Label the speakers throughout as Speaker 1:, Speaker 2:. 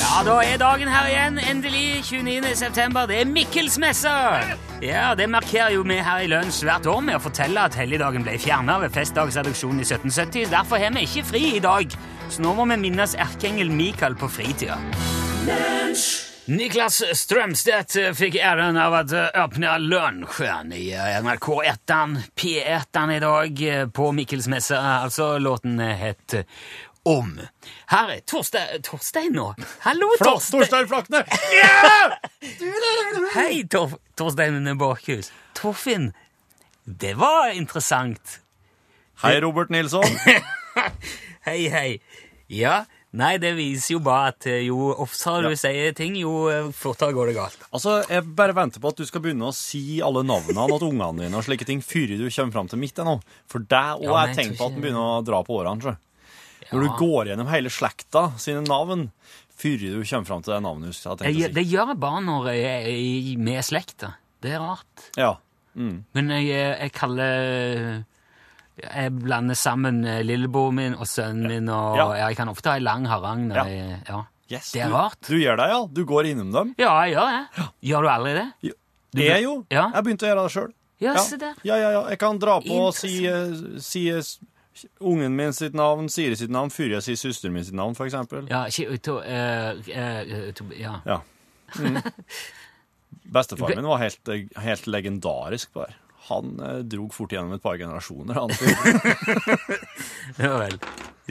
Speaker 1: Ja, da er dagen her igjen. Endelig 29. september. Det er Mikkelsmessa! Ja, det markerer jo vi her i Lunsj hvert år med å fortelle at helligdagen ble fjerna ved festdagsreduksjonen i 1770. Derfor har vi ikke fri i dag. Så nå må vi minnes erkeengel Mikael på fritida. Niklas Strømstedt fikk æren av å åpne Lunsjen i NRK1, P1 i dag, på Mikkelsmessa. Altså, låten het Om. Her er Torstein, Torstein nå. Hallo,
Speaker 2: Flott,
Speaker 1: Torstein.
Speaker 2: Torstein Flakne! Ja!
Speaker 1: Hei, Tor Torstein Borchhus. Torfinn, det var interessant.
Speaker 2: Hei, Robert Nilsson.
Speaker 1: Hei, hei. Ja, nei, det viser jo bare at eh, jo oftere du sier ting, jo eh, fortere går det galt.
Speaker 2: Altså, Jeg bare venter på at du skal begynne å si alle navnene til ungene dine og slike ting før du kommer fram til mitt ennå. For det òg
Speaker 1: Ja,
Speaker 2: er
Speaker 1: men jeg
Speaker 2: tegn
Speaker 1: tror
Speaker 2: på at
Speaker 1: ikke-
Speaker 2: den begynner å dra på årene. sjø. Når du går gjennom hele slekta sine navn før du kommer fram til det navnet du har
Speaker 1: Jeg,
Speaker 2: tenkt å
Speaker 1: gjør-
Speaker 2: si.
Speaker 1: det gjør jeg bare når jeg er i- med slekta. Det er rart.
Speaker 2: Ja.
Speaker 1: Men jeg, eh, jeg kaller eh, Jeg blander sammen eh, lillebroren min og sønnen min, og
Speaker 2: Ja.
Speaker 1: jeg kan ofte ha en lang harang når
Speaker 2: Ja.
Speaker 1: jeg ja.
Speaker 2: Yes,
Speaker 1: Det er
Speaker 2: du-
Speaker 1: rart.
Speaker 2: Du gjør det, ja. Du går innom dem.
Speaker 1: ja, jeg gjør det. Gjør du aldri det?
Speaker 2: Jo, Jeg jo.
Speaker 1: Ja.
Speaker 2: Jeg begynte å gjøre det sjøl.
Speaker 1: Ja, se der.
Speaker 2: ja, ja, ja. Jeg kan dra på og si, eh, si eh, s- ungen min sitt navn, Siri sitt navn, før jeg sier søsteren min sitt navn, for eksempel.
Speaker 1: Ja, ikke ut og eh, eh, to- Ja.
Speaker 2: Ja. Mm. Bestefaren min var helt, eh, helt legendarisk. Bare. Han eh, drog fort gjennom et par generasjoner. Han.
Speaker 1: Ja vel.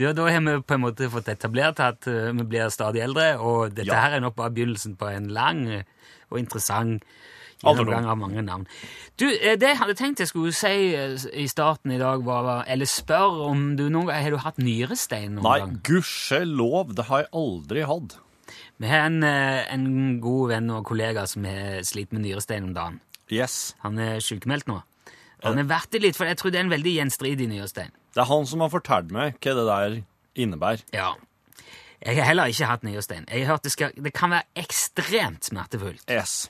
Speaker 1: Ja, da har vi på en måte fått etablert at eh, vi blir stadig eldre, og dette
Speaker 2: Ja.
Speaker 1: her er nok bare begynnelsen på en lang eh, og interessant
Speaker 2: Alderdom.
Speaker 1: gjennomgang av mange navn. Du, eh, det jeg hadde tenkt jeg skulle si eh, i starten i dag, var eller spørre om du noen gang Har du hatt nyrestein noen
Speaker 2: Nei,
Speaker 1: gang?
Speaker 2: gudskjelov, det har jeg aldri hatt.
Speaker 1: Vi har en, eh, en god venn og kollega som har slitt med nyrestein om dagen.
Speaker 2: Yes.
Speaker 1: Han er sykemeldt nå. Han
Speaker 2: Eh.
Speaker 1: har vært det litt, for jeg tror det er en veldig gjenstridig nyrestein.
Speaker 2: Det er han som har fortalt meg hva det der innebærer.
Speaker 1: Ja. Jeg har heller ikke hatt nyårsstein. Jeg har hørt det, skal, det kan være ekstremt smertefullt.
Speaker 2: Yes.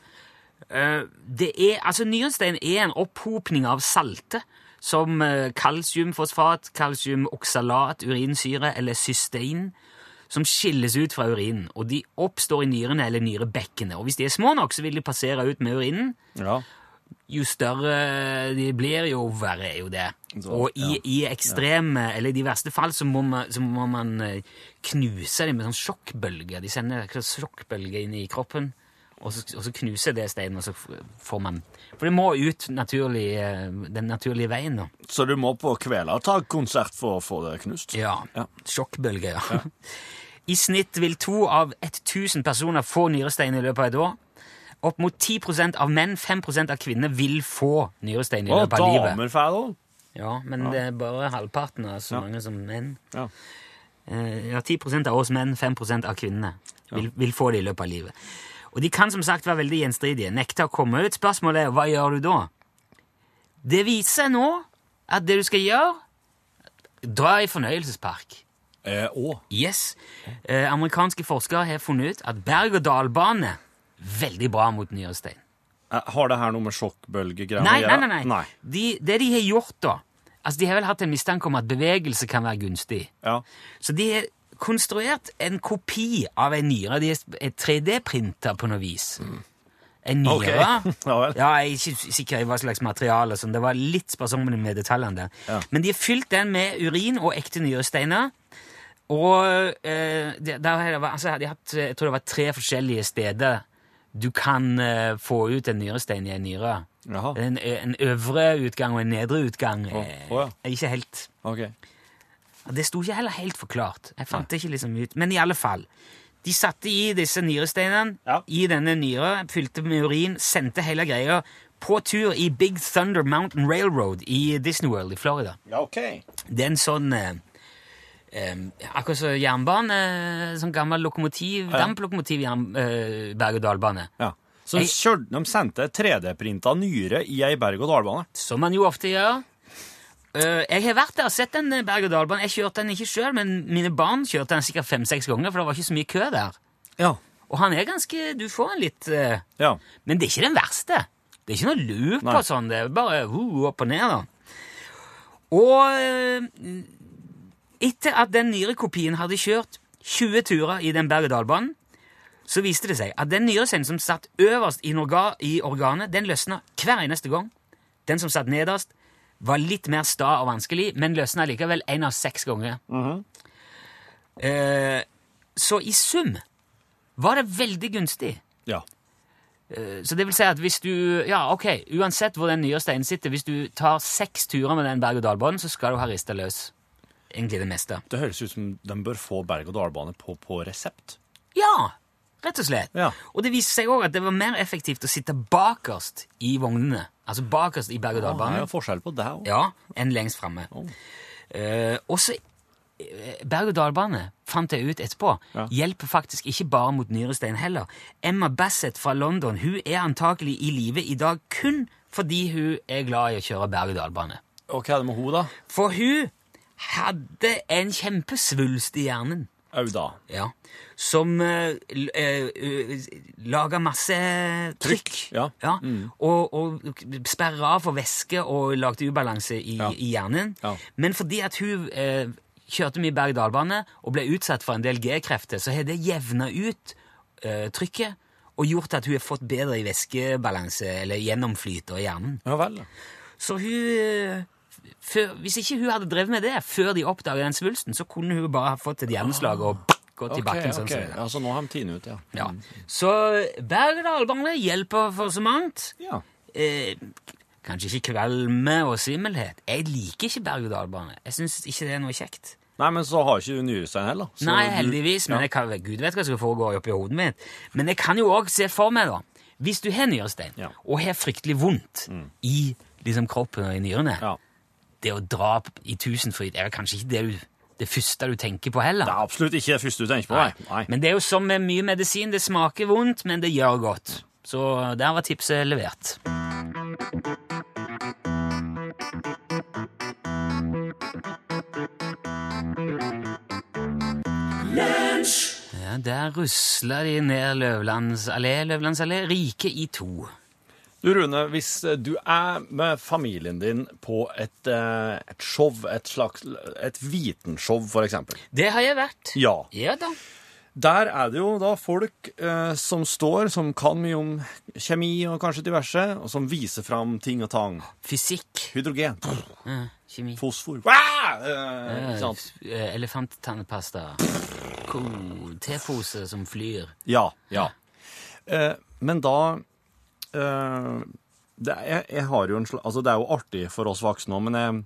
Speaker 1: Eh, det er, altså Nyårsstein er en opphopning av salte, som eh, kalsiumfosfat, kalsiumoksalat, urinsyre eller cystein, som skilles ut fra urinen. Og de oppstår i nyrene eller nyrebekkene. Og hvis de er små nok, så vil de passere ut med urinen.
Speaker 2: Ja.
Speaker 1: Jo større de blir, jo verre er jo det.
Speaker 2: Så,
Speaker 1: Og i, i ekstreme, eller i de verste fall, så må man, så må man eh, knuse dem med sånn sjokkbølger. De sender akkurat sjokkbølger inn i kroppen, og så, og så knuser det steinen, og så f- får man For det må ut naturlig, eh, den naturlige veien, da.
Speaker 2: Så du må på Kvelertak-konsert for å få det knust?
Speaker 1: Ja.
Speaker 2: Ja.
Speaker 1: Sjokkbølger, ja. I snitt vil to av 1000 personer få nyrestein i løpet av et år. Opp mot 10 av menn, 5 av kvinner, vil få nyrestein i
Speaker 2: Og
Speaker 1: løpet av livet.
Speaker 2: damer får det òg.
Speaker 1: Ja, men det er bare halvparten av så
Speaker 2: Ja.
Speaker 1: mange som menn.
Speaker 2: Ja.
Speaker 1: Eh, ja, 10 av oss menn, 5 av kvinnene vil, vil få det i løpet av livet. Og de kan som sagt være veldig gjenstridige. Nekte å komme ut. Spørsmålet er hva gjør du da? Det viser seg nå at det du skal gjøre Dra i fornøyelsespark.
Speaker 2: Eh, å.
Speaker 1: Yes. Eh, amerikanske forskere har funnet ut at berg-og-dal-bane veldig bra mot nyårsstein.
Speaker 2: Eh, Har det her noe med sjokkbølgegreier
Speaker 1: Nei, nei, nei. nei. De, det de har gjort, da altså De har vel hatt en mistanke om at bevegelse kan være gunstig.
Speaker 2: Ja.
Speaker 1: Så de har konstruert en kopi av en nyre. De er 3D-printa på noe vis. En nyre.
Speaker 2: Ok. Ja vel.
Speaker 1: Ja, jeg er ikke sikker i hva slags materiale. og Sånn. Det var litt sparsommelig med detaljene der.
Speaker 2: Ja.
Speaker 1: Men de har fylt den med urin og ekte nyresteiner. Og eh, det- der, har det vært- altså, de har hatt, eh, jeg tror det var tre forskjellige steder du kan eh, få ut en nyrestein i en nyre.
Speaker 2: Jaha.
Speaker 1: En, en øvre utgang og en nedre utgang.
Speaker 2: Å,
Speaker 1: eh,
Speaker 2: å ja.
Speaker 1: Ikke helt
Speaker 2: Ok.
Speaker 1: ja, Det sto ikke heller helt forklart. Jeg fant det ikke liksom ut. Men i alle fall. De satte i disse nyresteinene,
Speaker 2: Ja.
Speaker 1: i denne nyra, fylte med urin, sendte hele greia på tur i Big Thunder Mountain Railroad i Disney World i Florida.
Speaker 2: Ja, ok.
Speaker 1: Det er en sånn eh, eh, Akkurat som jernbane, sånn gammel lokomotiv,
Speaker 2: Ja.
Speaker 1: damplokomotiv, jern- eh, berg-og-dal-bane.
Speaker 2: Ja. Så
Speaker 1: Jeg-
Speaker 2: kjørte, de sendte 3D-printa nyre i ei berg-og-dal-bane.
Speaker 1: Som man jo ofte gjør. Eh, jeg har vært der og sett den eh, berg-og-dal-banen. Jeg kjørte den ikke sjøl, men mine barn kjørte den sikkert fem-seks ganger, for det var ikke så mye kø der.
Speaker 2: Ja.
Speaker 1: Og han er ganske Du får han litt eh,
Speaker 2: Ja.
Speaker 1: Men det er ikke den verste. Det er ikke noe lur på
Speaker 2: Nei.
Speaker 1: sånn. Det er bare uh, opp og ned, da. Og eh, etter at den nyrekopien hadde kjørt 20 turer i den berg-og-dal-banen, så viste det seg at den nyrescenen som satt øverst i, orga, i organet, den løsna hver eneste gang. Den som satt nederst, var litt mer sta og vanskelig, men løsna likevel én av seks ganger. Eh, så i sum var det veldig gunstig.
Speaker 2: Ja.
Speaker 1: Eh, Så det vil si at hvis du Ja, ok, uansett hvor den nye steinen sitter, hvis du tar seks turer med den berg-og-dal-banen, så skal du ha rista løs egentlig det meste.
Speaker 2: Det høres ut som de bør få berg-og-dal-bane på, på resept.
Speaker 1: Ja! Rett og slett.
Speaker 2: Ja.
Speaker 1: Og det viste seg òg at det var mer effektivt å sitte bakerst i vognene. Altså bakerst
Speaker 2: Det
Speaker 1: i
Speaker 2: er
Speaker 1: berg-og-dal-banen.
Speaker 2: jo forskjell på deg òg.
Speaker 1: Ja, enn lengst framme. Eh, og så eh, Berg-og-dal-bane, fant jeg ut etterpå,
Speaker 2: Ja.
Speaker 1: hjelper faktisk ikke bare mot nyrestein heller. Emma Bassett fra London hun er antakelig i live i dag kun fordi hun er glad i å kjøre berg-og-dal-bane.
Speaker 2: Og hva er det med henne, da?
Speaker 1: For hun hadde en kjempesvulst i hjernen.
Speaker 2: Au, da.
Speaker 1: Ja. Som uh, lager masse trykk.
Speaker 2: ja. Mm.
Speaker 1: Og, og sperrer av for væske og lagde ubalanse i,
Speaker 2: Ja.
Speaker 1: i hjernen.
Speaker 2: Ja.
Speaker 1: Men fordi at hun eh, kjørte mye berg-og-dal-bane og ble utsatt for en del G-krefter, så har det jevna ut eh, trykket og gjort at hun har fått bedre i væskebalanse, eller gjennomflyter i hjernen.
Speaker 2: Ja vel.
Speaker 1: Så hun eh, før, Hvis ikke hun hadde drevet med det før de oppdaga den svulsten, så kunne hun bare ha fått et hjerneslag og
Speaker 2: Ah.
Speaker 1: gått i bakken. sånn som det er.
Speaker 2: Ja, så nå har de tinet ut, ja.
Speaker 1: Ja. Så berg-og-dal-bane hjelper for så mangt.
Speaker 2: Ja.
Speaker 1: Eh, kanskje ikke kvalme og svimmelhet. Jeg liker ikke berg-og-dal-bane. Jeg syns ikke det er noe kjekt.
Speaker 2: Nei, men så har ikke du nyrestein heller. Så
Speaker 1: Nei,
Speaker 2: du-
Speaker 1: heldigvis, men jeg kan, gud vet hva som foregår oppi hodet mitt. Men jeg kan jo òg se for meg, da, hvis du har nyrestein,
Speaker 2: Ja. Mm.
Speaker 1: og har fryktelig vondt i liksom, kroppen og i nyrene,
Speaker 2: Ja.
Speaker 1: det å dra p- i tusenfryd er vel kanskje ikke det, du, det første du tenker på heller.
Speaker 2: Det er absolutt ikke det første du tenker på. Nei. Nei.
Speaker 1: Men det er jo som med mye medisin, det smaker vondt, men det gjør godt. Så der var tipset levert. Ja, der rusler de ned Løvlands allé, Løvlands allé, rike i to.
Speaker 2: Du Rune, hvis eh, du er med familien din på et, eh, et show, et slags et vitenshow for eksempel.
Speaker 1: Det har jeg vært.
Speaker 2: Ja.
Speaker 1: Ja da.
Speaker 2: Der er det jo da folk eh, som står, som kan mye om kjemi og kanskje diverse, og som viser fram ting og tang.
Speaker 1: Fysikk,
Speaker 2: Hydrogen,
Speaker 1: ja, kjemi.
Speaker 2: fosfor, Wah! eh, ikke sant?
Speaker 1: Eh, Elefanttannpasta. Ko- Tepose som flyr.
Speaker 2: Ja, ja. Eh, men da eh, det, er- jeg, jeg har jo en, sl- altså det er jo artig for oss voksne òg, men jeg,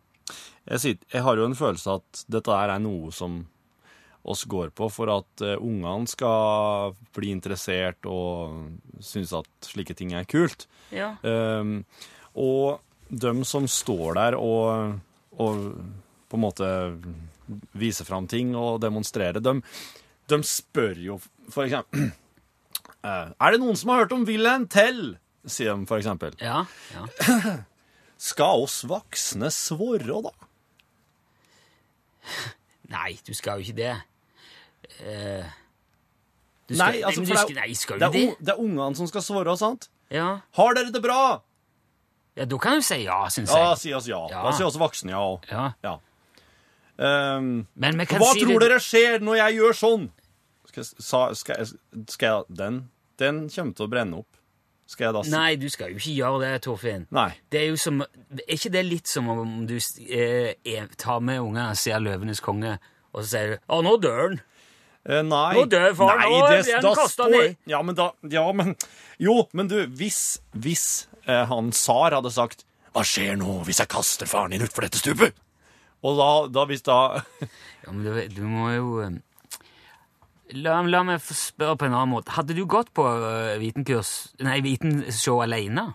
Speaker 2: jeg, sitter, jeg har jo en følelse at dette her er noe som oss går på for at eh, ungene skal bli interessert og synes at slike ting er kult.
Speaker 1: Ja.
Speaker 2: Eh, og dem som står der og, og på en måte viser fram ting og demonstrerer, dem, de spør jo for eksempel eh, Er det noen som har hørt om Wilhelm Tell? sier de for eksempel.
Speaker 1: Ja, ja.
Speaker 2: Skal oss voksne svare, da?
Speaker 1: Nei, du skal jo ikke det. Eh,
Speaker 2: Nei,
Speaker 1: du skal,
Speaker 2: altså, for
Speaker 1: men du
Speaker 2: det er-
Speaker 1: skal, nei, skal
Speaker 2: Det
Speaker 1: du
Speaker 2: er,
Speaker 1: det?
Speaker 2: un- det er ungene som skal svare, sant?
Speaker 1: Ja.
Speaker 2: Har dere det bra?
Speaker 1: ja, da kan du si ja, syns
Speaker 2: Ja,
Speaker 1: jeg.
Speaker 2: sier oss ja.
Speaker 1: Ja.
Speaker 2: Da sier oss voksne ja òg.
Speaker 1: Ja.
Speaker 2: Ja. Ehm,
Speaker 1: Men vi kan
Speaker 2: Hva
Speaker 1: si
Speaker 2: tror
Speaker 1: det-
Speaker 2: dere skjer når jeg gjør sånn? Skal, jeg- sa, skal, jeg- skal jeg Den, den kommer til å brenne opp. Skal jeg da si
Speaker 1: Nei, du skal jo ikke gjøre det, Torfinn.
Speaker 2: Nei.
Speaker 1: Det er jo som Er ikke det litt som om du eh, er- tar med ungene og ser 'Løvenes konge', og så sier du 'Å, nå dør han'.
Speaker 2: Eh, nei.
Speaker 1: Nå dør far, nå
Speaker 2: det-
Speaker 1: blir han
Speaker 2: da
Speaker 1: kastet
Speaker 2: står-
Speaker 1: ned.
Speaker 2: Ja, men da Ja, men Jo, men du, hvis Hvis eh, han Sar hadde sagt Hva skjer nå hvis jeg kaster faren din utfor dette stupet? Og da, da hvis da
Speaker 1: Ja, men du, du må jo eh, la, la meg få spørre på en annen måte. Hadde du gått på eh, vitenkurs Nei, vitenshow alene?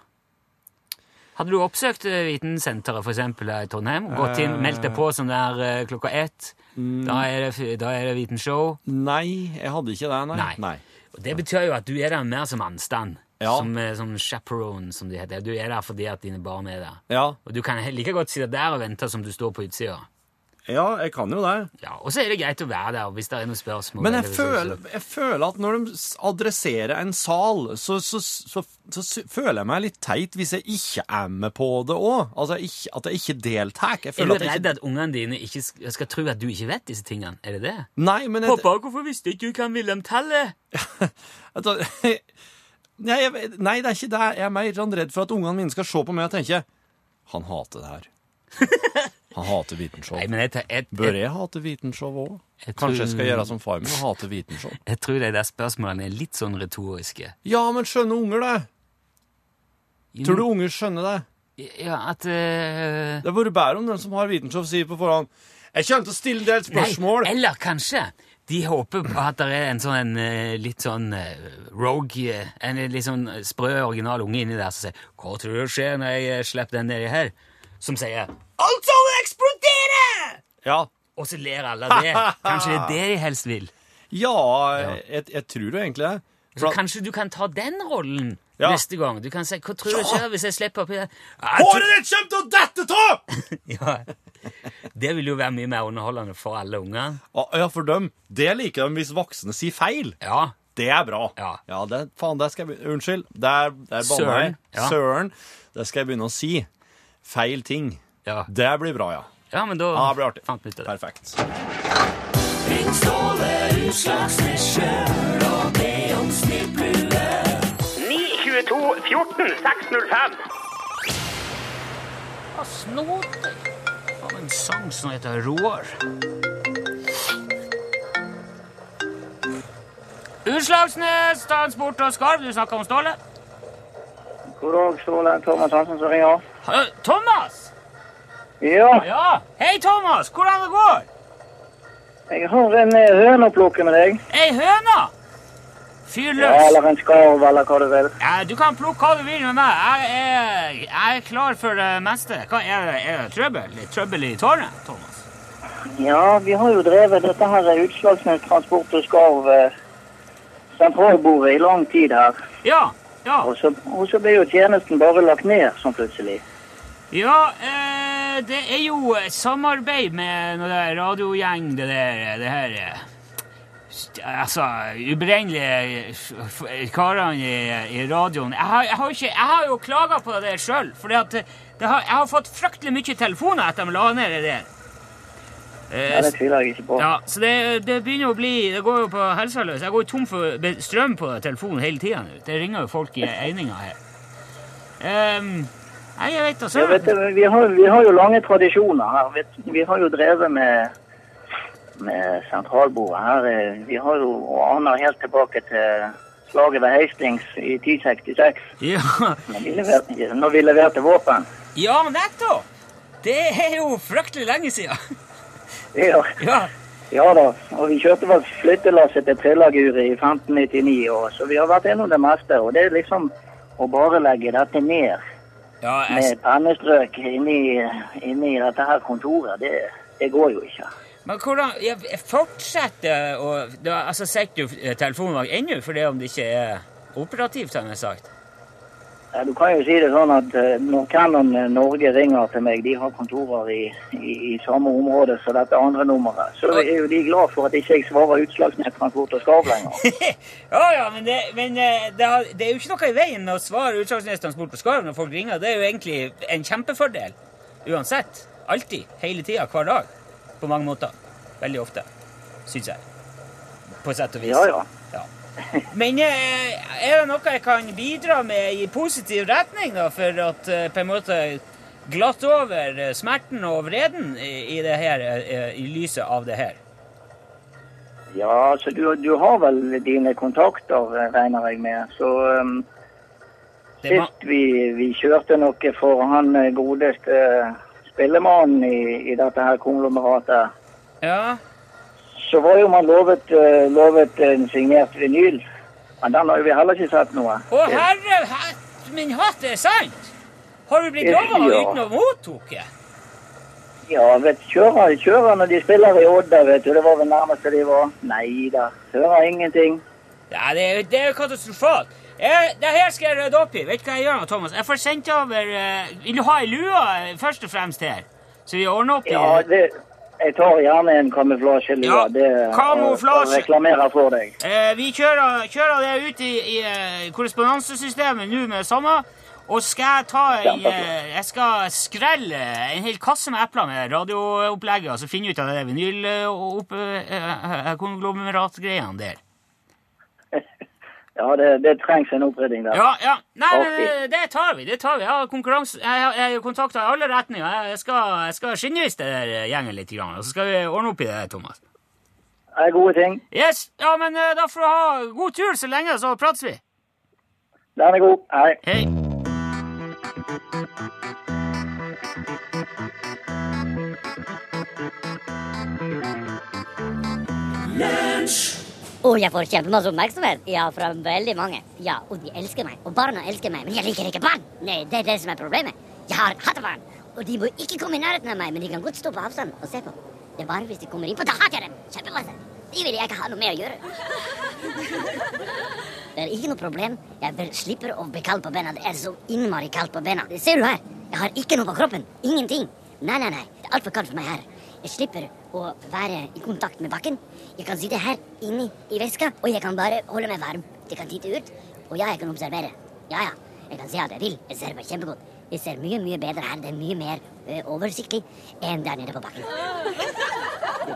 Speaker 1: Hadde du oppsøkt eh, Vitensenteret for eksempel, her i Trondheim? Gått inn, meldt deg på sånn der eh, klokka ett?
Speaker 2: Mm.
Speaker 1: Da er det, f- da er det vitenshow.
Speaker 2: Nei, jeg hadde ikke det, nei.
Speaker 1: Nei. Og det betyr jo at du er der mer som anstand.
Speaker 2: Ja.
Speaker 1: Som, eh, som chaperone, som det heter. Du er der fordi at dine barn er der.
Speaker 2: Ja.
Speaker 1: Og du kan he- like godt sitte der og vente som du står på utsida.
Speaker 2: Ja, jeg kan jo det.
Speaker 1: Ja, Og så er det greit å være der hvis det er noen spørsmål.
Speaker 2: Men jeg
Speaker 1: eller hvis-
Speaker 2: føler, jeg føler at når de s- adresserer en sal, så, så, så, så, sy- føler jeg meg litt teit hvis jeg ikke er med på det òg. Altså jeg ikke, at jeg ikke deltar. Jeg
Speaker 1: Er du
Speaker 2: føler at jeg
Speaker 1: redd
Speaker 2: ikke
Speaker 1: at ungene dine ikke skal, skal tro at du ikke vet disse tingene? Er det det?
Speaker 2: Nei, men jeg,
Speaker 1: hvorfor visste ikke du hva Wilhelm-tallet
Speaker 2: altså, nei, jeg, nei, det er ikke det. Jeg er mer sånn redd for at ungene mine skal se på meg og tenke Han hater det her. Han hater
Speaker 1: Nei,
Speaker 2: vitenshow.
Speaker 1: men jeg, jeg, jeg,
Speaker 2: Bør jeg hate vitenshow òg?
Speaker 1: Jeg tror-
Speaker 2: Kanskje jeg skal gjøre som far min og hate vitenshow?
Speaker 1: jeg tror de der spørsmålene er litt sånn retoriske.
Speaker 2: Ja, men skjønner unger det?
Speaker 1: Mm.
Speaker 2: Tror du unger skjønner det?
Speaker 1: Ja, at eh,
Speaker 2: Det burde bedre om den som har vitenshow, sier på forhånd Jeg kommer til å stille en del spørsmål.
Speaker 1: Nei, eller kanskje de håper på at det er en sånn en, eh, litt sånn eh, rogue, eh, en litt sånn sprø original unge inni der som sier 'Hva tror du skjer når jeg eh, slipper den nedi her?' Som sier 'Alt sammen eksploderer!'
Speaker 2: Altså, Ja,
Speaker 1: Og så ler alle av det. Kanskje det er det de helst vil.
Speaker 2: ja jeg, jeg tror jo egentlig det.
Speaker 1: Så kanskje du kan ta den rollen
Speaker 2: Ja.
Speaker 1: neste gang. Du kan si 'Hva tror du
Speaker 2: Ja.
Speaker 1: skjer hvis jeg slipper oppi der?' Ja, jeg tror-
Speaker 2: Håret ditt kommer til å dette av!
Speaker 1: Ja. Det vil jo være mye mer underholdende for alle unger.
Speaker 2: Ah, Ja, for dem. Det liker de hvis voksne sier feil.
Speaker 1: Ja.
Speaker 2: Det er bra.
Speaker 1: Ja.
Speaker 2: det, faen, det skal jeg begynne Unnskyld. Der, der banna jeg.
Speaker 1: Søren, ja.
Speaker 2: Søren. Det skal jeg begynne å si. Feil ting.
Speaker 1: Ja,
Speaker 2: Det blir bra, ja.
Speaker 1: ja men da
Speaker 2: Ja, det blir artig.
Speaker 1: fant vi ut av det.
Speaker 2: Perfekt.
Speaker 1: Hva snoter? Av en sang som heter Roar. Utslagsnes, Transport og Skarv, du snakker om Ståle.
Speaker 3: God dag, Ståle. Thomas Hansen som ringer.
Speaker 1: Hei, Thomas!
Speaker 3: Ja,
Speaker 1: Ja, hei Thomas, hvordan det går?
Speaker 3: jeg har en eh, høne å plukke med deg.
Speaker 1: Ei høna! Fyr
Speaker 3: Ja,
Speaker 1: løs.
Speaker 3: eller en skarv, eller hva du vil.
Speaker 1: Ja, du kan plukke hva du vil med meg. Jeg er, jeg er klar for det meste. Hva er det? Er det trøbbel? Litt trøbbel i tårnet, Thomas?
Speaker 3: Ja, vi har jo drevet dette her eh, Utslagsnes Transport og Skarv eh, sentralbordet i lang tid her.
Speaker 1: Ja, ja.
Speaker 3: Og så, og så ble jo tjenesten bare lagt ned sånn plutselig.
Speaker 1: Ja, eh, det er jo et samarbeid med noe der radiogjeng, det der, det her eh, st- Altså, ubrennelige f- f- karene i, i radioen. Jeg har, jeg, har ikke, jeg har jo klaga på det sjøl, for eh, det har, jeg har fått fryktelig mye telefoner etter at de la ned det der. Eh,
Speaker 3: Ja, det tviler jeg ikke på.
Speaker 1: Ja, så det, det begynner å bli Det går jo på helsa løs. Jeg går jo tom for be- strøm på telefonen hele tida nå. Det ringer jo folk i eininga her. Ehm, nei, jeg vet da
Speaker 3: Ja, vet du,
Speaker 1: søren.
Speaker 3: vi har, vi har jo lange tradisjoner her. Vet, du. vi har jo drevet med, med sentralbordet her. eh, Vi har jo og aner helt tilbake til slaget ved Hastings i 1066.
Speaker 1: Ja,
Speaker 3: Når vi leverte, når vi leverte våpen.
Speaker 1: ja men nettopp! Det er jo fryktelig lenge sida.
Speaker 3: Ja,
Speaker 1: Ja.
Speaker 3: ja da. Og vi kjørte vel flyttelasset til Trillaguret i 1599 år, så vi har vært gjennom det meste. Og det er liksom å bare legge dette ned
Speaker 1: ja jeg,
Speaker 3: med pennestrøk inni, inni dette her kontoret, det, det går jo ikke.
Speaker 1: men hvordan jeg, jeg fortsetter å det var- Altså, setter du eh, telefonen bak ennå fordi om det ikke er operativt, har jeg sagt?
Speaker 3: Ja, du kan jo si det sånn at eh, når Canon Norge ringer til meg, de har kontorer i, i, i samme område som dette andre nummeret, så er jo de glad for at ikke jeg svarer Utslagsnett Transport og Skarv lenger.
Speaker 1: Ja, ja, men, det, men eh, det, har, det er jo ikke noe i veien med å svare Utslagsnes Transport på Skarv når folk ringer. Det er jo egentlig en kjempefordel. Uansett. Alltid. Hele tida. Hver dag. På mange måter. Veldig ofte. Syns jeg. På sett og vis.
Speaker 3: Ja, ja.
Speaker 1: Ja. Men eh, er det noe jeg kan bidra med i positiv retning, da, for at eh, på en måte glatt over eh, smerten og vreden i, i det her, eh, i lyset av det her?
Speaker 3: Ja, så du, du har vel dine kontakter, eh, regner jeg med. Så ehm,
Speaker 1: Det er ma-
Speaker 3: sist vi, vi kjørte noe for han eh, godeste eh, spillemannen i, i dette her konglomeratet,
Speaker 1: ja.
Speaker 3: så var jo man lovet, eh, lovet en signert vinyl. Men den har jo vi heller ikke sett noe.
Speaker 1: Å, herre hatt, min hatt, er det sant? Har du blitt
Speaker 3: Ja.
Speaker 1: lova uten å mottaket?
Speaker 3: Ja, vet, kjører, kjører når de spiller i Odda, vet du. Det var vel nærmeste de var. Nei da, hører ingenting.
Speaker 1: Ja, det, er- det er jo katastrofalt. Jeg, det her skal jeg rydde opp i. Vet du hva jeg gjør nå, Thomas? Jeg får sendt over eh, Vil du ha ei lue eh, først og fremst her? Så vi ordner opp i
Speaker 3: Ja, det, Jeg tar gjerne en kamuflasjelue.
Speaker 1: Ja,
Speaker 3: det og-
Speaker 1: kamuflasje.
Speaker 3: og reklamerer for deg.
Speaker 1: Eh, vi kjører, kjører det ut i, i eh, korrespondansesystemet nå med det samme. Og skal jeg ta en, eh, Jeg skal skrelle en hel kasse med epler med radioopplegget, og så finne ut av det eh, vinylkonglomeratgreiene eh, der.
Speaker 3: Ja, det, det trengs en opprydding der.
Speaker 1: Ja, ja. Nei,
Speaker 3: Ok.
Speaker 1: men, eh, det tar vi. det tar vi. Jeg har konkurranse... Jeg har- jeg har kontakta i alle retninger. Jeg- Jeg skal, jeg skal skinnvise det der eh, gjengen litt, grann, og så skal vi ordne opp i det, Thomas.
Speaker 3: Det er gode ting.
Speaker 1: Yes, ja, men eh, Da får du ha god tur så lenge, så prates vi.
Speaker 3: Den er god. Hei.
Speaker 1: Hei.
Speaker 4: Og jeg får kjempemasse oppmerksomhet. Ja, fra veldig mange. Ja, og de elsker meg. Og barna elsker meg. Men jeg liker ikke barn! Nei, det er det som er problemet. Jeg har hattebarn. Og de må ikke komme i nærheten av meg, men de kan godt stå på avstand og se på. Det er bare hvis de kommer innpå, da hater jeg dem! Kjempemasse. De vil jeg ikke ha noe med å gjøre. Det er ikke noe problem. Jeg vel- slipper å bli kald på bena. Det er så innmari kaldt på bena. Det ser du her. Jeg har ikke noe på kroppen. Ingenting. Nei, nei, nei. Det er altfor kaldt for meg her. Jeg slipper å være i kontakt med bakken. Jeg kan sitte her inni i veska, og jeg kan bare holde meg varm. Jeg kan titte ut, og ja, jeg kan observere. Ja, ja. Jeg kan se at jeg vil. Jeg ser meg kjempegodt. Jeg ser mye, mye bedre her. Det er mye mer ø, oversiktlig enn der nede på bakken.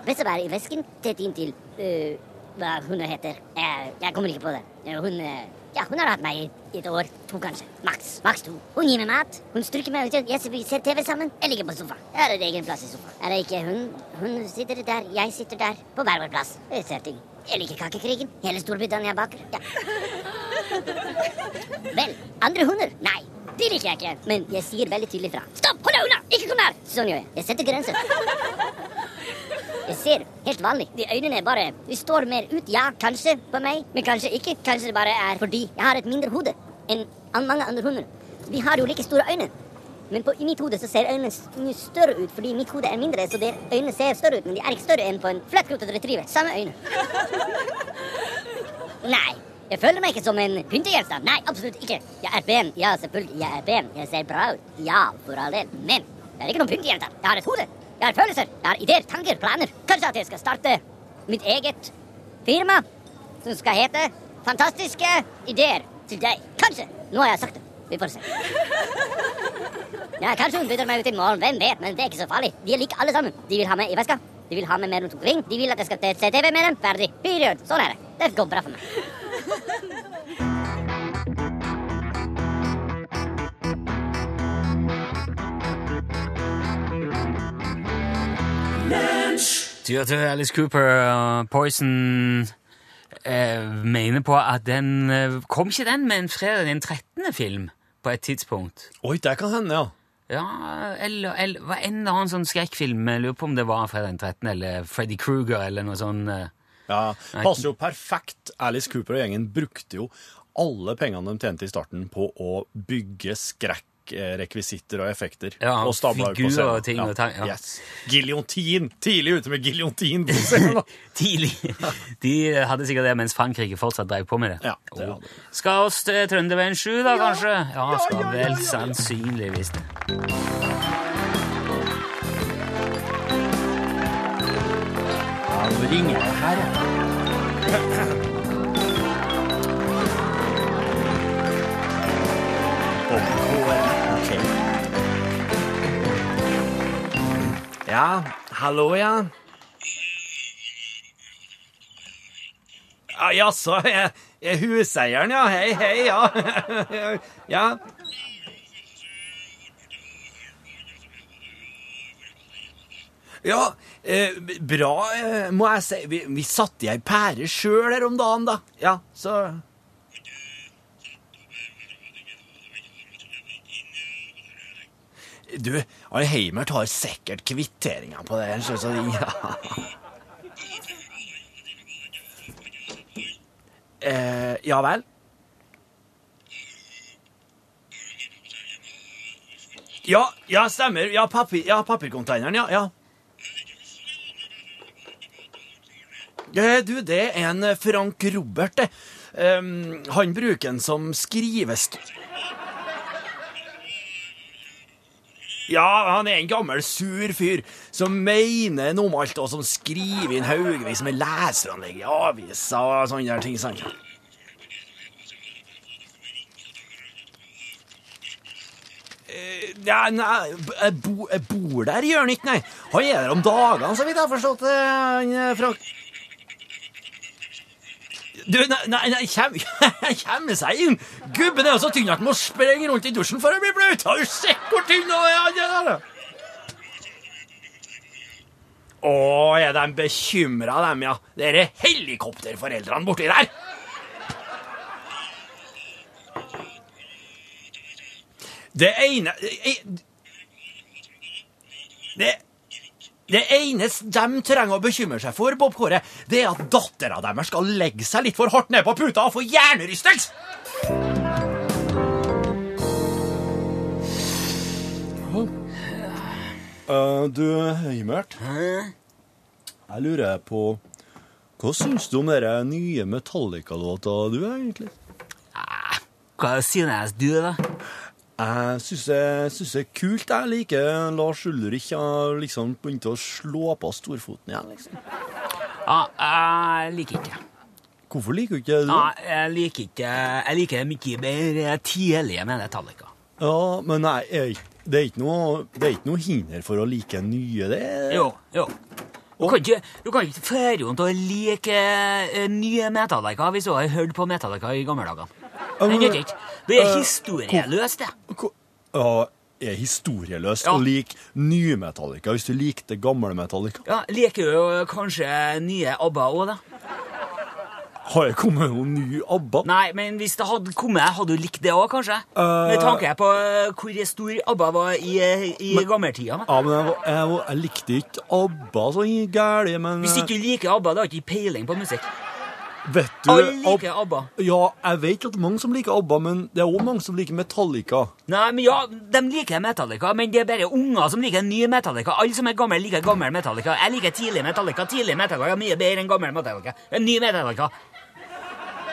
Speaker 4: Hvis jeg er i vesken, tett inntil øh, hva hun heter. Jeg, jeg kommer ikke på det. Eh, Hun, eh, ja, hun har hatt meg i i et år. To, kanskje. Maks. Maks to. Hun gir meg mat. Hun stryker meg. ut. Jeg ser- vi ser TV sammen. Jeg ligger på sofaen. Jeg har en egen plass i sofaen. Er det ikke hun? Hun sitter der. Jeg sitter der. På hver vår plass. Jeg ser ting. Jeg liker kakekrigen. Hele Storbritannia baker. Ja. Vel, andre hunder? Nei. De liker jeg ikke. Men jeg sier veldig tydelig fra. Stopp! Hold deg unna! Ikke kom nær! Sånn gjør jeg. Jeg setter grenser. Jeg ser helt vanlig. De øynene er bare De står mer ut. Ja, kanskje på meg, men kanskje ikke. Kanskje det bare er fordi jeg har et mindre hode enn an- mange andre hunder. Vi har jo like store øyne. Men på, i mitt hode så ser øynene s- mye større ut fordi mitt hode er mindre. Så der øynene ser større ut, men de er ikke større enn på en flatkruttet retriever. Samme øyne. Nei. Jeg føler meg ikke som en pyntegjenstand. Nei, absolutt ikke. Jeg er pen. Ja, selvfølgelig. Jeg er pen. Jeg ser bra ut. Ja, for all del. Men jeg er ikke noen pyntegjenstand. Jeg har et hode. Jeg har følelser. Jeg har ideer, tanker, planer. Kanskje at jeg skal starte mitt eget firma som skal hete Fantastiske ideer til deg. Kanskje. Nå har jeg sagt det. Vi får se. Ja, Kanskje hun bytter meg ut i morgen. Hvem vet? Men det er ikke så farlig. De er like alle sammen. De vil ha meg i veska. De vil ha meg med rundt omkring. De vil at jeg skal te- se TV med dem. Ferdig. Period. Sånn er det. Det går bra for meg.
Speaker 1: Du hørte Alice Cooper og Poison eh, mener på at den eh, Kom ikke den med en fredag den 13. film på et tidspunkt?
Speaker 2: Oi, det kan hende, ja.
Speaker 1: Ja, eller, eller var en eller annen sånn skrekkfilm. Jeg lurer på om det var fredag den 13. eller Freddy Kruger eller noe sånt. eh.
Speaker 2: Ja, passer jo perfekt. Alice Cooper og gjengen brukte jo alle pengene de tjente i starten på å bygge skrekkrekvisitter og effekter.
Speaker 1: Ja,
Speaker 2: og stabla ut på
Speaker 1: figurer
Speaker 2: scenen.
Speaker 1: og ting og tang, ja.
Speaker 2: Yes. Giljotin! Tidlig ute med giljotin på scenen! da.
Speaker 1: Tidlig. De eh, hadde sikkert det mens Frankrike fortsatt drev på med det.
Speaker 2: Ja, det
Speaker 1: Jo.
Speaker 2: hadde de.
Speaker 1: Skal oss til Trønderveien 7, da, kanskje? Ja, skal vel sannsynligvis det.
Speaker 2: Ja, nå ringer det her, ja. Ja, hallo, ja. Ja, jaså, jeg jeg er huseieren, ja. Hei, hei, ja. Ja, ja eh, b- bra, eh, må jeg si. Vi, vi satte i ei pære sjøl her om dagen, da. Ja, så Du, han Heimert har sikkert kvitteringa på det her, så, så ja. Eh, ja vel? Ja, ja, stemmer. Ja, papir, ja papircontaineren, ja. ja. Eh, Du, det er en eh, Frank Robert, det. Ehm, han bruker den som skrivest...
Speaker 5: Ja, han er en gammel sur fyr som mener noe om alt, og som skriver inn haugevis med leseranlegg i aviser og sånne der ting. sant? Eh, Ja, nei, b- jeg, bo, jeg bor der, gjør han ikke, nei. Han er der om dagene, så vidt jeg har forstått det, han eh, Frank. Du, nei, nei, nei kjem, kjem seg inn! Gubben er jo så tynn at han må sprenge rundt i dusjen for å bli blaut! Har du sett hvor tynn han er? han er? Å, er de bekymra, dem, ja? Dere helikopterforeldrene borti der! Det ene Det det eneste de trenger å bekymre seg for, Bob Kåre, det er at dattera deres skal legge seg litt for hardt ned på puta og få hjernerystelse! Eh, du, Himmert. Jeg lurer på Hva syns du om den nye Metallica-låta du, egentlig?
Speaker 1: Hva sier næst du, da?
Speaker 5: Jeg syns det syns det er kult. Jeg liker Lars Ulrich har liksom begynt å slå på storfoten igjen. liksom.
Speaker 1: Ja, jeg liker ikke.
Speaker 5: Hvorfor liker du ikke det?
Speaker 1: Ja, jeg liker ikke Jeg liker det mye mer eh, tidlige med Metallica.
Speaker 5: Ja, men nei, jeg, det, er ikke noe, det er ikke noe hinder for å like nye, det. er-
Speaker 1: Jo, jo. Du kan ikke, du kan ikke føre henne til å like eh, nye Metallica hvis du har hørt på Metallica i gamle dager.
Speaker 5: Ja, men-
Speaker 1: Det nytter ikke. Det er
Speaker 5: Eh,
Speaker 1: historieløst, det.
Speaker 5: Ko- Ja, er historieløst
Speaker 1: Ja.
Speaker 5: å like nye Metallica hvis du likte gamle Metallica.
Speaker 1: Ja, Liker du kanskje nye ABBA òg, da?
Speaker 5: Har det kommet noen ny ABBA?
Speaker 1: Nei, men hvis det hadde kommet, hadde du likt det òg, kanskje? Med tanke på eh, hvor stor ABBA var i, eh, i gammeltida. da.
Speaker 5: Ja, men jeg, var- jeg, var- jeg likte ikke ABBA så gærent, men eh,
Speaker 1: Hvis ikke du liker ABBA, da har du ikke peiling på musikk.
Speaker 5: Vet du
Speaker 1: Alle liker
Speaker 5: Ab-
Speaker 1: ABBA.
Speaker 5: Ja, jeg vet at det er mange som liker ABBA, men det er òg mange som liker Metallica.
Speaker 1: Nei, men ja, De liker Metallica, men det er bare unger som liker ny Metallica. Alle som er gamle, liker gammel Metallica. Jeg liker tidlig Metallica. Tidlig Metallica er mye bedre enn gammel Metallica. En ny Metallica.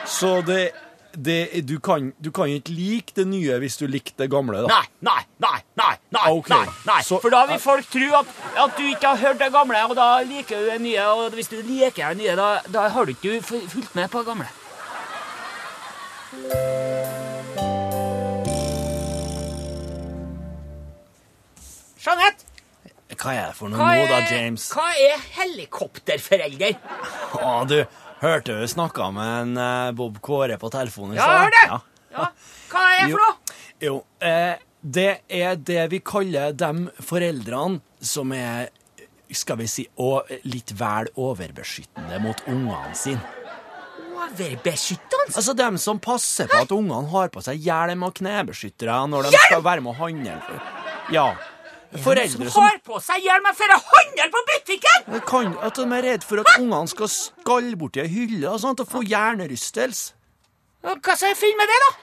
Speaker 5: Så det, det du, kan, du kan ikke like det nye hvis du likte det gamle, da.
Speaker 1: Nei, nei, nei, nei, nei,
Speaker 5: Ok,
Speaker 1: nei, nei.
Speaker 5: så- Eh,
Speaker 1: For da vil folk tro at, at du ikke har hørt det gamle, og da liker du det nye. Og hvis du liker det nye, da, da har du ikke fu- fulgt med på det gamle. Jeanette,
Speaker 5: Hva er det for noe
Speaker 1: hva
Speaker 5: nå, da,
Speaker 1: er,
Speaker 5: James?
Speaker 1: hva er helikopterforelder?
Speaker 5: Å, du hørte du snakka med en eh, Bob Kåre på telefonen? i
Speaker 1: Ja,
Speaker 5: stad?
Speaker 1: jeg hører det! Ja, hva er det
Speaker 5: Jo.
Speaker 1: for noe?
Speaker 5: Jo, eh, det er det vi kaller dem foreldrene som er skal vi si, og litt vel overbeskyttende mot ungene sine.
Speaker 1: Overbeskyttende?
Speaker 5: Altså dem som passer på at ungene har på seg hjelm og knebeskyttere når de skal være med å handle. Ja.
Speaker 1: Som
Speaker 5: Foreldre som
Speaker 1: har på seg hjelm for å handle på butikken?
Speaker 5: Det kan, at de er redd for at ungene skal skalle borti ei hylle og sånt og få hjernerystelse.
Speaker 1: Og Hva skal jeg finne med det, da?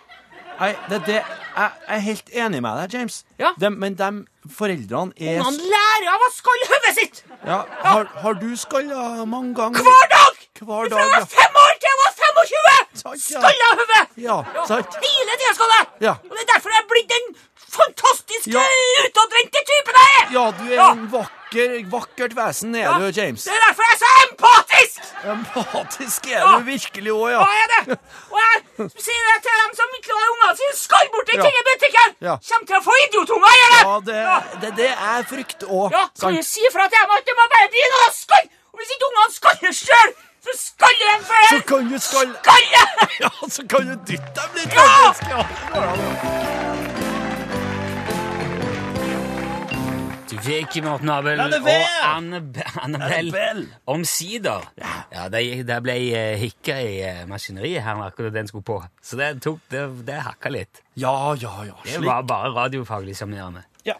Speaker 5: Nei, det, det, jeg, jeg er helt enig med deg, James.
Speaker 1: Ja.
Speaker 5: Dem- men de foreldrene er
Speaker 1: Han lærer av å skalle hodet sitt
Speaker 5: ja, har, har du skalla mange ganger?
Speaker 1: hver dag!
Speaker 5: Hver
Speaker 1: Fra jeg
Speaker 5: dag,
Speaker 1: var fem år til jeg var 25!
Speaker 5: Sant, ja.
Speaker 1: Skalla hode!
Speaker 5: Ja, sant.
Speaker 1: Hele tida skalle!
Speaker 5: Ja.
Speaker 1: Og det er derfor jeg er blitt den fantastiske
Speaker 5: Ja.
Speaker 1: utadvendte typen jeg er!
Speaker 5: ja. Ja, du er
Speaker 1: Ja.
Speaker 5: en vakker, vakkert vesen, er du, James.
Speaker 1: Det er derfor jeg er så empatisk!
Speaker 5: Empatisk er
Speaker 1: Ja.
Speaker 5: du virkelig òg,
Speaker 1: Hva
Speaker 5: ja.
Speaker 1: er det? Og jeg sier det til dem som ikke har unger sine, skall bort til
Speaker 5: Ja.
Speaker 1: ting i butikken!
Speaker 5: Ja.
Speaker 1: Kjem til å få idiotunger, gjør det!
Speaker 5: Ja, det det, det er frykt òg.
Speaker 1: Ja, kan du si fra til dem at de må bare begynne å skalle? Og hvis ikke ungene skaller sjøl, så skaller de for
Speaker 5: Så
Speaker 1: en
Speaker 5: kan du skalle
Speaker 1: skalle!
Speaker 5: Ja, så kan du dytte dem litt,
Speaker 1: Ja!
Speaker 5: faktisk. Ja, det går an, ja.
Speaker 1: Du fikk Morten Abel
Speaker 5: Annabelle!
Speaker 1: og Annab Annabelle
Speaker 5: Annabelle!
Speaker 1: omsider. Ja, det, det ble eh, hikka i eh, maskineriet her akkurat da den skulle på, så det, tok, det, det hakka litt.
Speaker 5: Ja, ja, ja.
Speaker 1: Det
Speaker 5: Slik.
Speaker 1: var bare radiofaglig sjarmerende.
Speaker 5: Ja,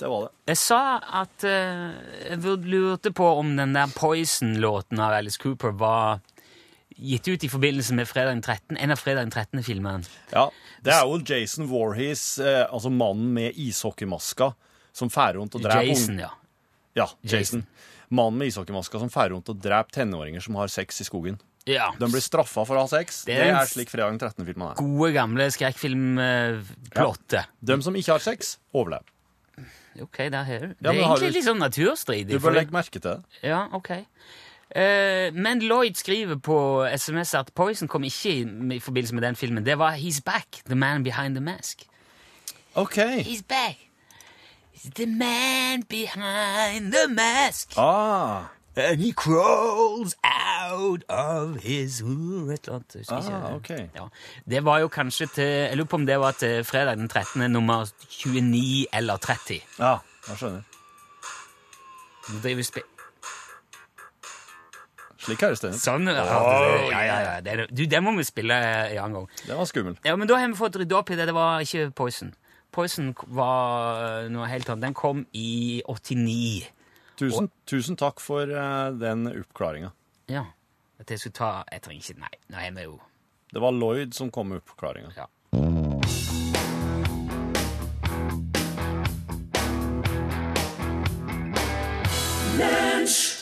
Speaker 5: det var det.
Speaker 1: Jeg sa at eh, jeg vur- lurte på om den der Poison-låten av Alice Cooper var gitt ut i forbindelse med fredag den 13, en av fredag den 13. filmen.
Speaker 5: Ja, det er jo Jason Warhees, eh, altså mannen med ishockeymaska, som fær rundt og dreper
Speaker 1: Jason,
Speaker 5: ung-
Speaker 1: ja.
Speaker 5: Ja,
Speaker 1: Jason.
Speaker 5: Jason. Mannen med ishockeymaska som fær rundt og dreper tenåringer som har sex i skogen.
Speaker 1: ja.
Speaker 5: De blir straffa for å ha sex.
Speaker 1: Det
Speaker 5: Det
Speaker 1: er
Speaker 5: er,
Speaker 1: en-
Speaker 5: slik Fredag den 13.-filmen er.
Speaker 1: Gode, gamle skrekkfilmplottet.
Speaker 5: De som ikke har sex, overlever.
Speaker 1: OK, der har du. Det
Speaker 5: Ja,
Speaker 1: er
Speaker 5: men har
Speaker 1: egentlig
Speaker 5: du-
Speaker 1: litt sånn naturstridig.
Speaker 5: Du
Speaker 1: for
Speaker 5: bør
Speaker 1: det-
Speaker 5: legge merke til det.
Speaker 1: Ja, ok. Eh, men Lloyd skriver på SMS at Poison kom ikke i, i forbindelse med den filmen. Det var He's Back, The Man Behind The Mask.
Speaker 5: OK.
Speaker 1: He's back. He's the man behind the mask.
Speaker 5: Ah,
Speaker 1: And he crawls out of his hood. Et eller annet. jeg husker ikke.
Speaker 5: Ah, ok.
Speaker 1: ja. Det var jo kanskje til Jeg lurer på om det var til fredag den 13. nummer 29 eller 30.
Speaker 5: ja, jeg skjønner.
Speaker 1: Nå driver vi spe...
Speaker 5: Slik høres det ut.
Speaker 1: Sånn. ja, det- ja, ja, ja. Det, er- du, det må vi spille eh, en annen gang.
Speaker 5: Det var skummel.
Speaker 1: Ja, men da har vi fått rydda opp i det. Det var ikke Poison. Poison var eh, noe helt annet. Den kom i 89.
Speaker 5: Tusen, tusen takk for eh, den oppklaringa.
Speaker 1: Ja. At jeg skulle ta Jeg trenger ikke Nei, nå er vi jo
Speaker 5: Det var Lloyd som kom med oppklaringa.
Speaker 1: Ja.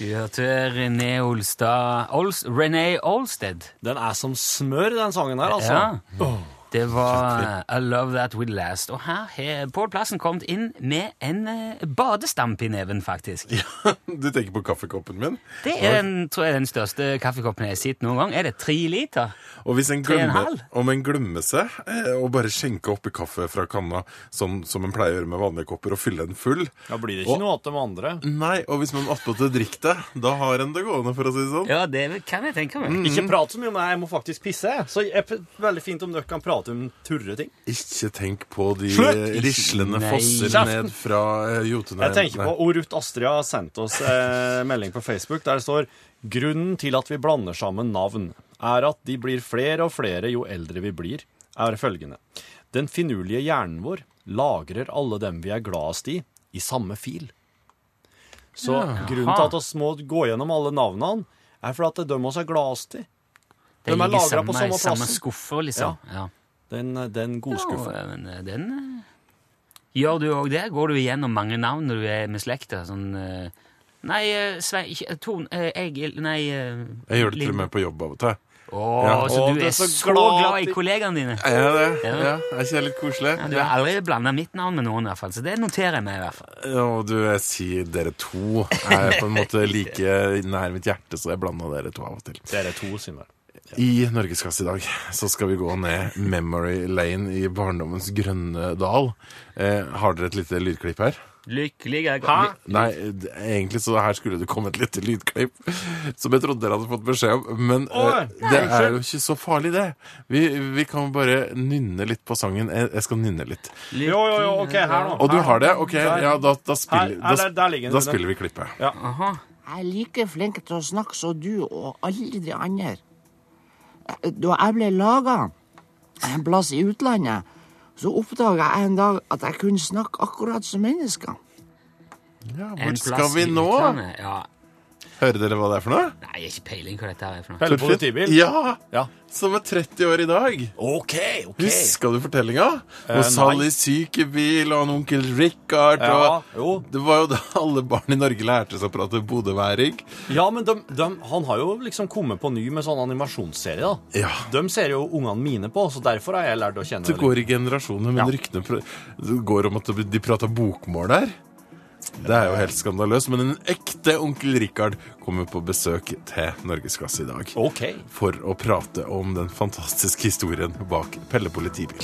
Speaker 1: Du hørte René Olstad Ols, René Olsted.
Speaker 5: Den er som smør, den sangen her, altså.
Speaker 1: Ja. Det var I Love That Will Last. Og her har Pål Plassen kommet inn med en eh, badestamp i neven, faktisk.
Speaker 6: Du tenker på kaffekoppen min.
Speaker 1: Det er den, tror jeg, den største kaffekoppen jeg har sett noen gang. Er det tre liter?
Speaker 6: Og hvis en
Speaker 1: Tre og en
Speaker 6: glemmer,
Speaker 1: halv?
Speaker 6: om en glemmer seg eh, og bare skjenke oppi kaffe fra kanna, som, som en pleier å gjøre med vanlige kopper, og fylle den full
Speaker 5: Da blir det ikke
Speaker 6: Og-
Speaker 5: noe av de andre.
Speaker 6: Nei, og hvis man attpåtil drikker det, da har en det gående, for å si det sånn.
Speaker 1: Ja, det kan jeg tenke meg.
Speaker 5: Ikke prat så mye om det, jeg må faktisk pisse. jeg. Så jeg, veldig fint om dere kan prate om turre ting.
Speaker 6: Ikke tenk på de
Speaker 5: Slutt!
Speaker 6: rislende
Speaker 1: Nei.
Speaker 6: fosser
Speaker 5: Kjeften!
Speaker 6: ned fra eh, Jotunheimen.
Speaker 5: Jeg tenker på og Ruth Astrid har sendt oss eh, melding på Facebook der det står Grunnen til at vi blander sammen navn, er at de blir flere og flere jo eldre vi blir, er følgende. Den finurlige hjernen vår lagrer alle dem vi er gladest i, i samme fil. Så grunnen til at oss må gå gjennom alle navnene, er fordi at det er dem vi er gladest i.
Speaker 1: Det
Speaker 5: De er
Speaker 1: ligger i
Speaker 5: lagret på
Speaker 1: samme,
Speaker 5: samme
Speaker 1: samme
Speaker 5: plassen. Oh,
Speaker 1: skuffer, liksom. Ja.
Speaker 5: Den, den godskuffen.
Speaker 1: Ja, men eh, den eh, Gjør du òg det? Går du igjennom mange navn når du er med slekta? Sånn eh, Nei, eh, Svein ikke, eh, Ton eh, Egil Nei eh,
Speaker 6: Jeg gjør det til
Speaker 1: Lin-
Speaker 6: og med på jobb av og til.
Speaker 1: Å,
Speaker 6: Ja.
Speaker 1: så
Speaker 5: Å,
Speaker 1: du
Speaker 5: du er
Speaker 1: er
Speaker 5: så
Speaker 1: så
Speaker 5: glad
Speaker 1: glad
Speaker 5: at
Speaker 1: i
Speaker 5: de-
Speaker 1: kollegaene dine!
Speaker 6: Er jeg det?
Speaker 1: Ja.
Speaker 6: Ja. Er ikke jeg litt koselig?
Speaker 1: Ja, du har aldri blanda mitt navn med noen, i hvert fall, så det noterer jeg meg. i hvert fall.
Speaker 6: Ja, og du, jeg sier dere to er på en måte like nær mitt hjerte, så jeg blanda dere to av og til.
Speaker 5: Dere to, Simen.
Speaker 6: I Norgeskass i dag så skal vi gå ned Memory Lane i barndommens grønne dal. Eh, har dere et lite lydklipp her?
Speaker 1: Lykkeligere
Speaker 6: Nei, d- egentlig så her skulle det komme et lite lydklipp som jeg trodde dere hadde fått beskjed om. Men
Speaker 5: Oi,
Speaker 6: eh, det er jo ikke så farlig, det. Vi, vi kan bare nynne litt på sangen. Jeg, jeg skal nynne litt.
Speaker 5: Jo, jo, jo, OK, her nå.
Speaker 6: Og du har det? Ok, ja, da, da,
Speaker 5: Her,
Speaker 6: spiller,
Speaker 5: her,
Speaker 6: da,
Speaker 5: der, der ligger den.
Speaker 6: da spiller vi klippet.
Speaker 7: Jeg er like flink til å snakke som du og alle de andre. Eh, Da jeg ble laga en plass i utlandet, så oppdaga jeg en dag at jeg kunne snakke akkurat som mennesker.
Speaker 6: Ja,
Speaker 1: En
Speaker 6: hvor skal
Speaker 1: plass
Speaker 6: vi
Speaker 1: i
Speaker 6: nå?
Speaker 1: utlandet. Ja.
Speaker 6: Hører dere hva det er for noe?
Speaker 1: Nei, jeg har ikke peiling hva dette her er for noe.
Speaker 5: Pelle politibil.
Speaker 6: Ja!
Speaker 5: Ja.
Speaker 6: Som er 30 år i dag.
Speaker 5: OK, OK. Eh,
Speaker 6: Huska du fortellinga?
Speaker 5: nei.
Speaker 6: Og Sally sykebil og en onkel Richard
Speaker 5: Ja, jo.
Speaker 6: og Det var jo da alle barn i Norge lærte seg å prate bodøværing.
Speaker 5: Ja, men de, de, han har jo liksom kommet på ny med sånn animasjonsserie, da.
Speaker 6: Ja.
Speaker 5: De ser jo ungene mine på, så derfor har jeg lært å kjenne
Speaker 6: Det går i generasjoner, men ryktene pr- det går om at de prata bokmål der. Det er jo helt skandaløst, men en ekte onkel Richard kommer på besøk til Norgesklasse i dag.
Speaker 5: OK.
Speaker 6: For å prate om den fantastiske historien bak Pelle politibil.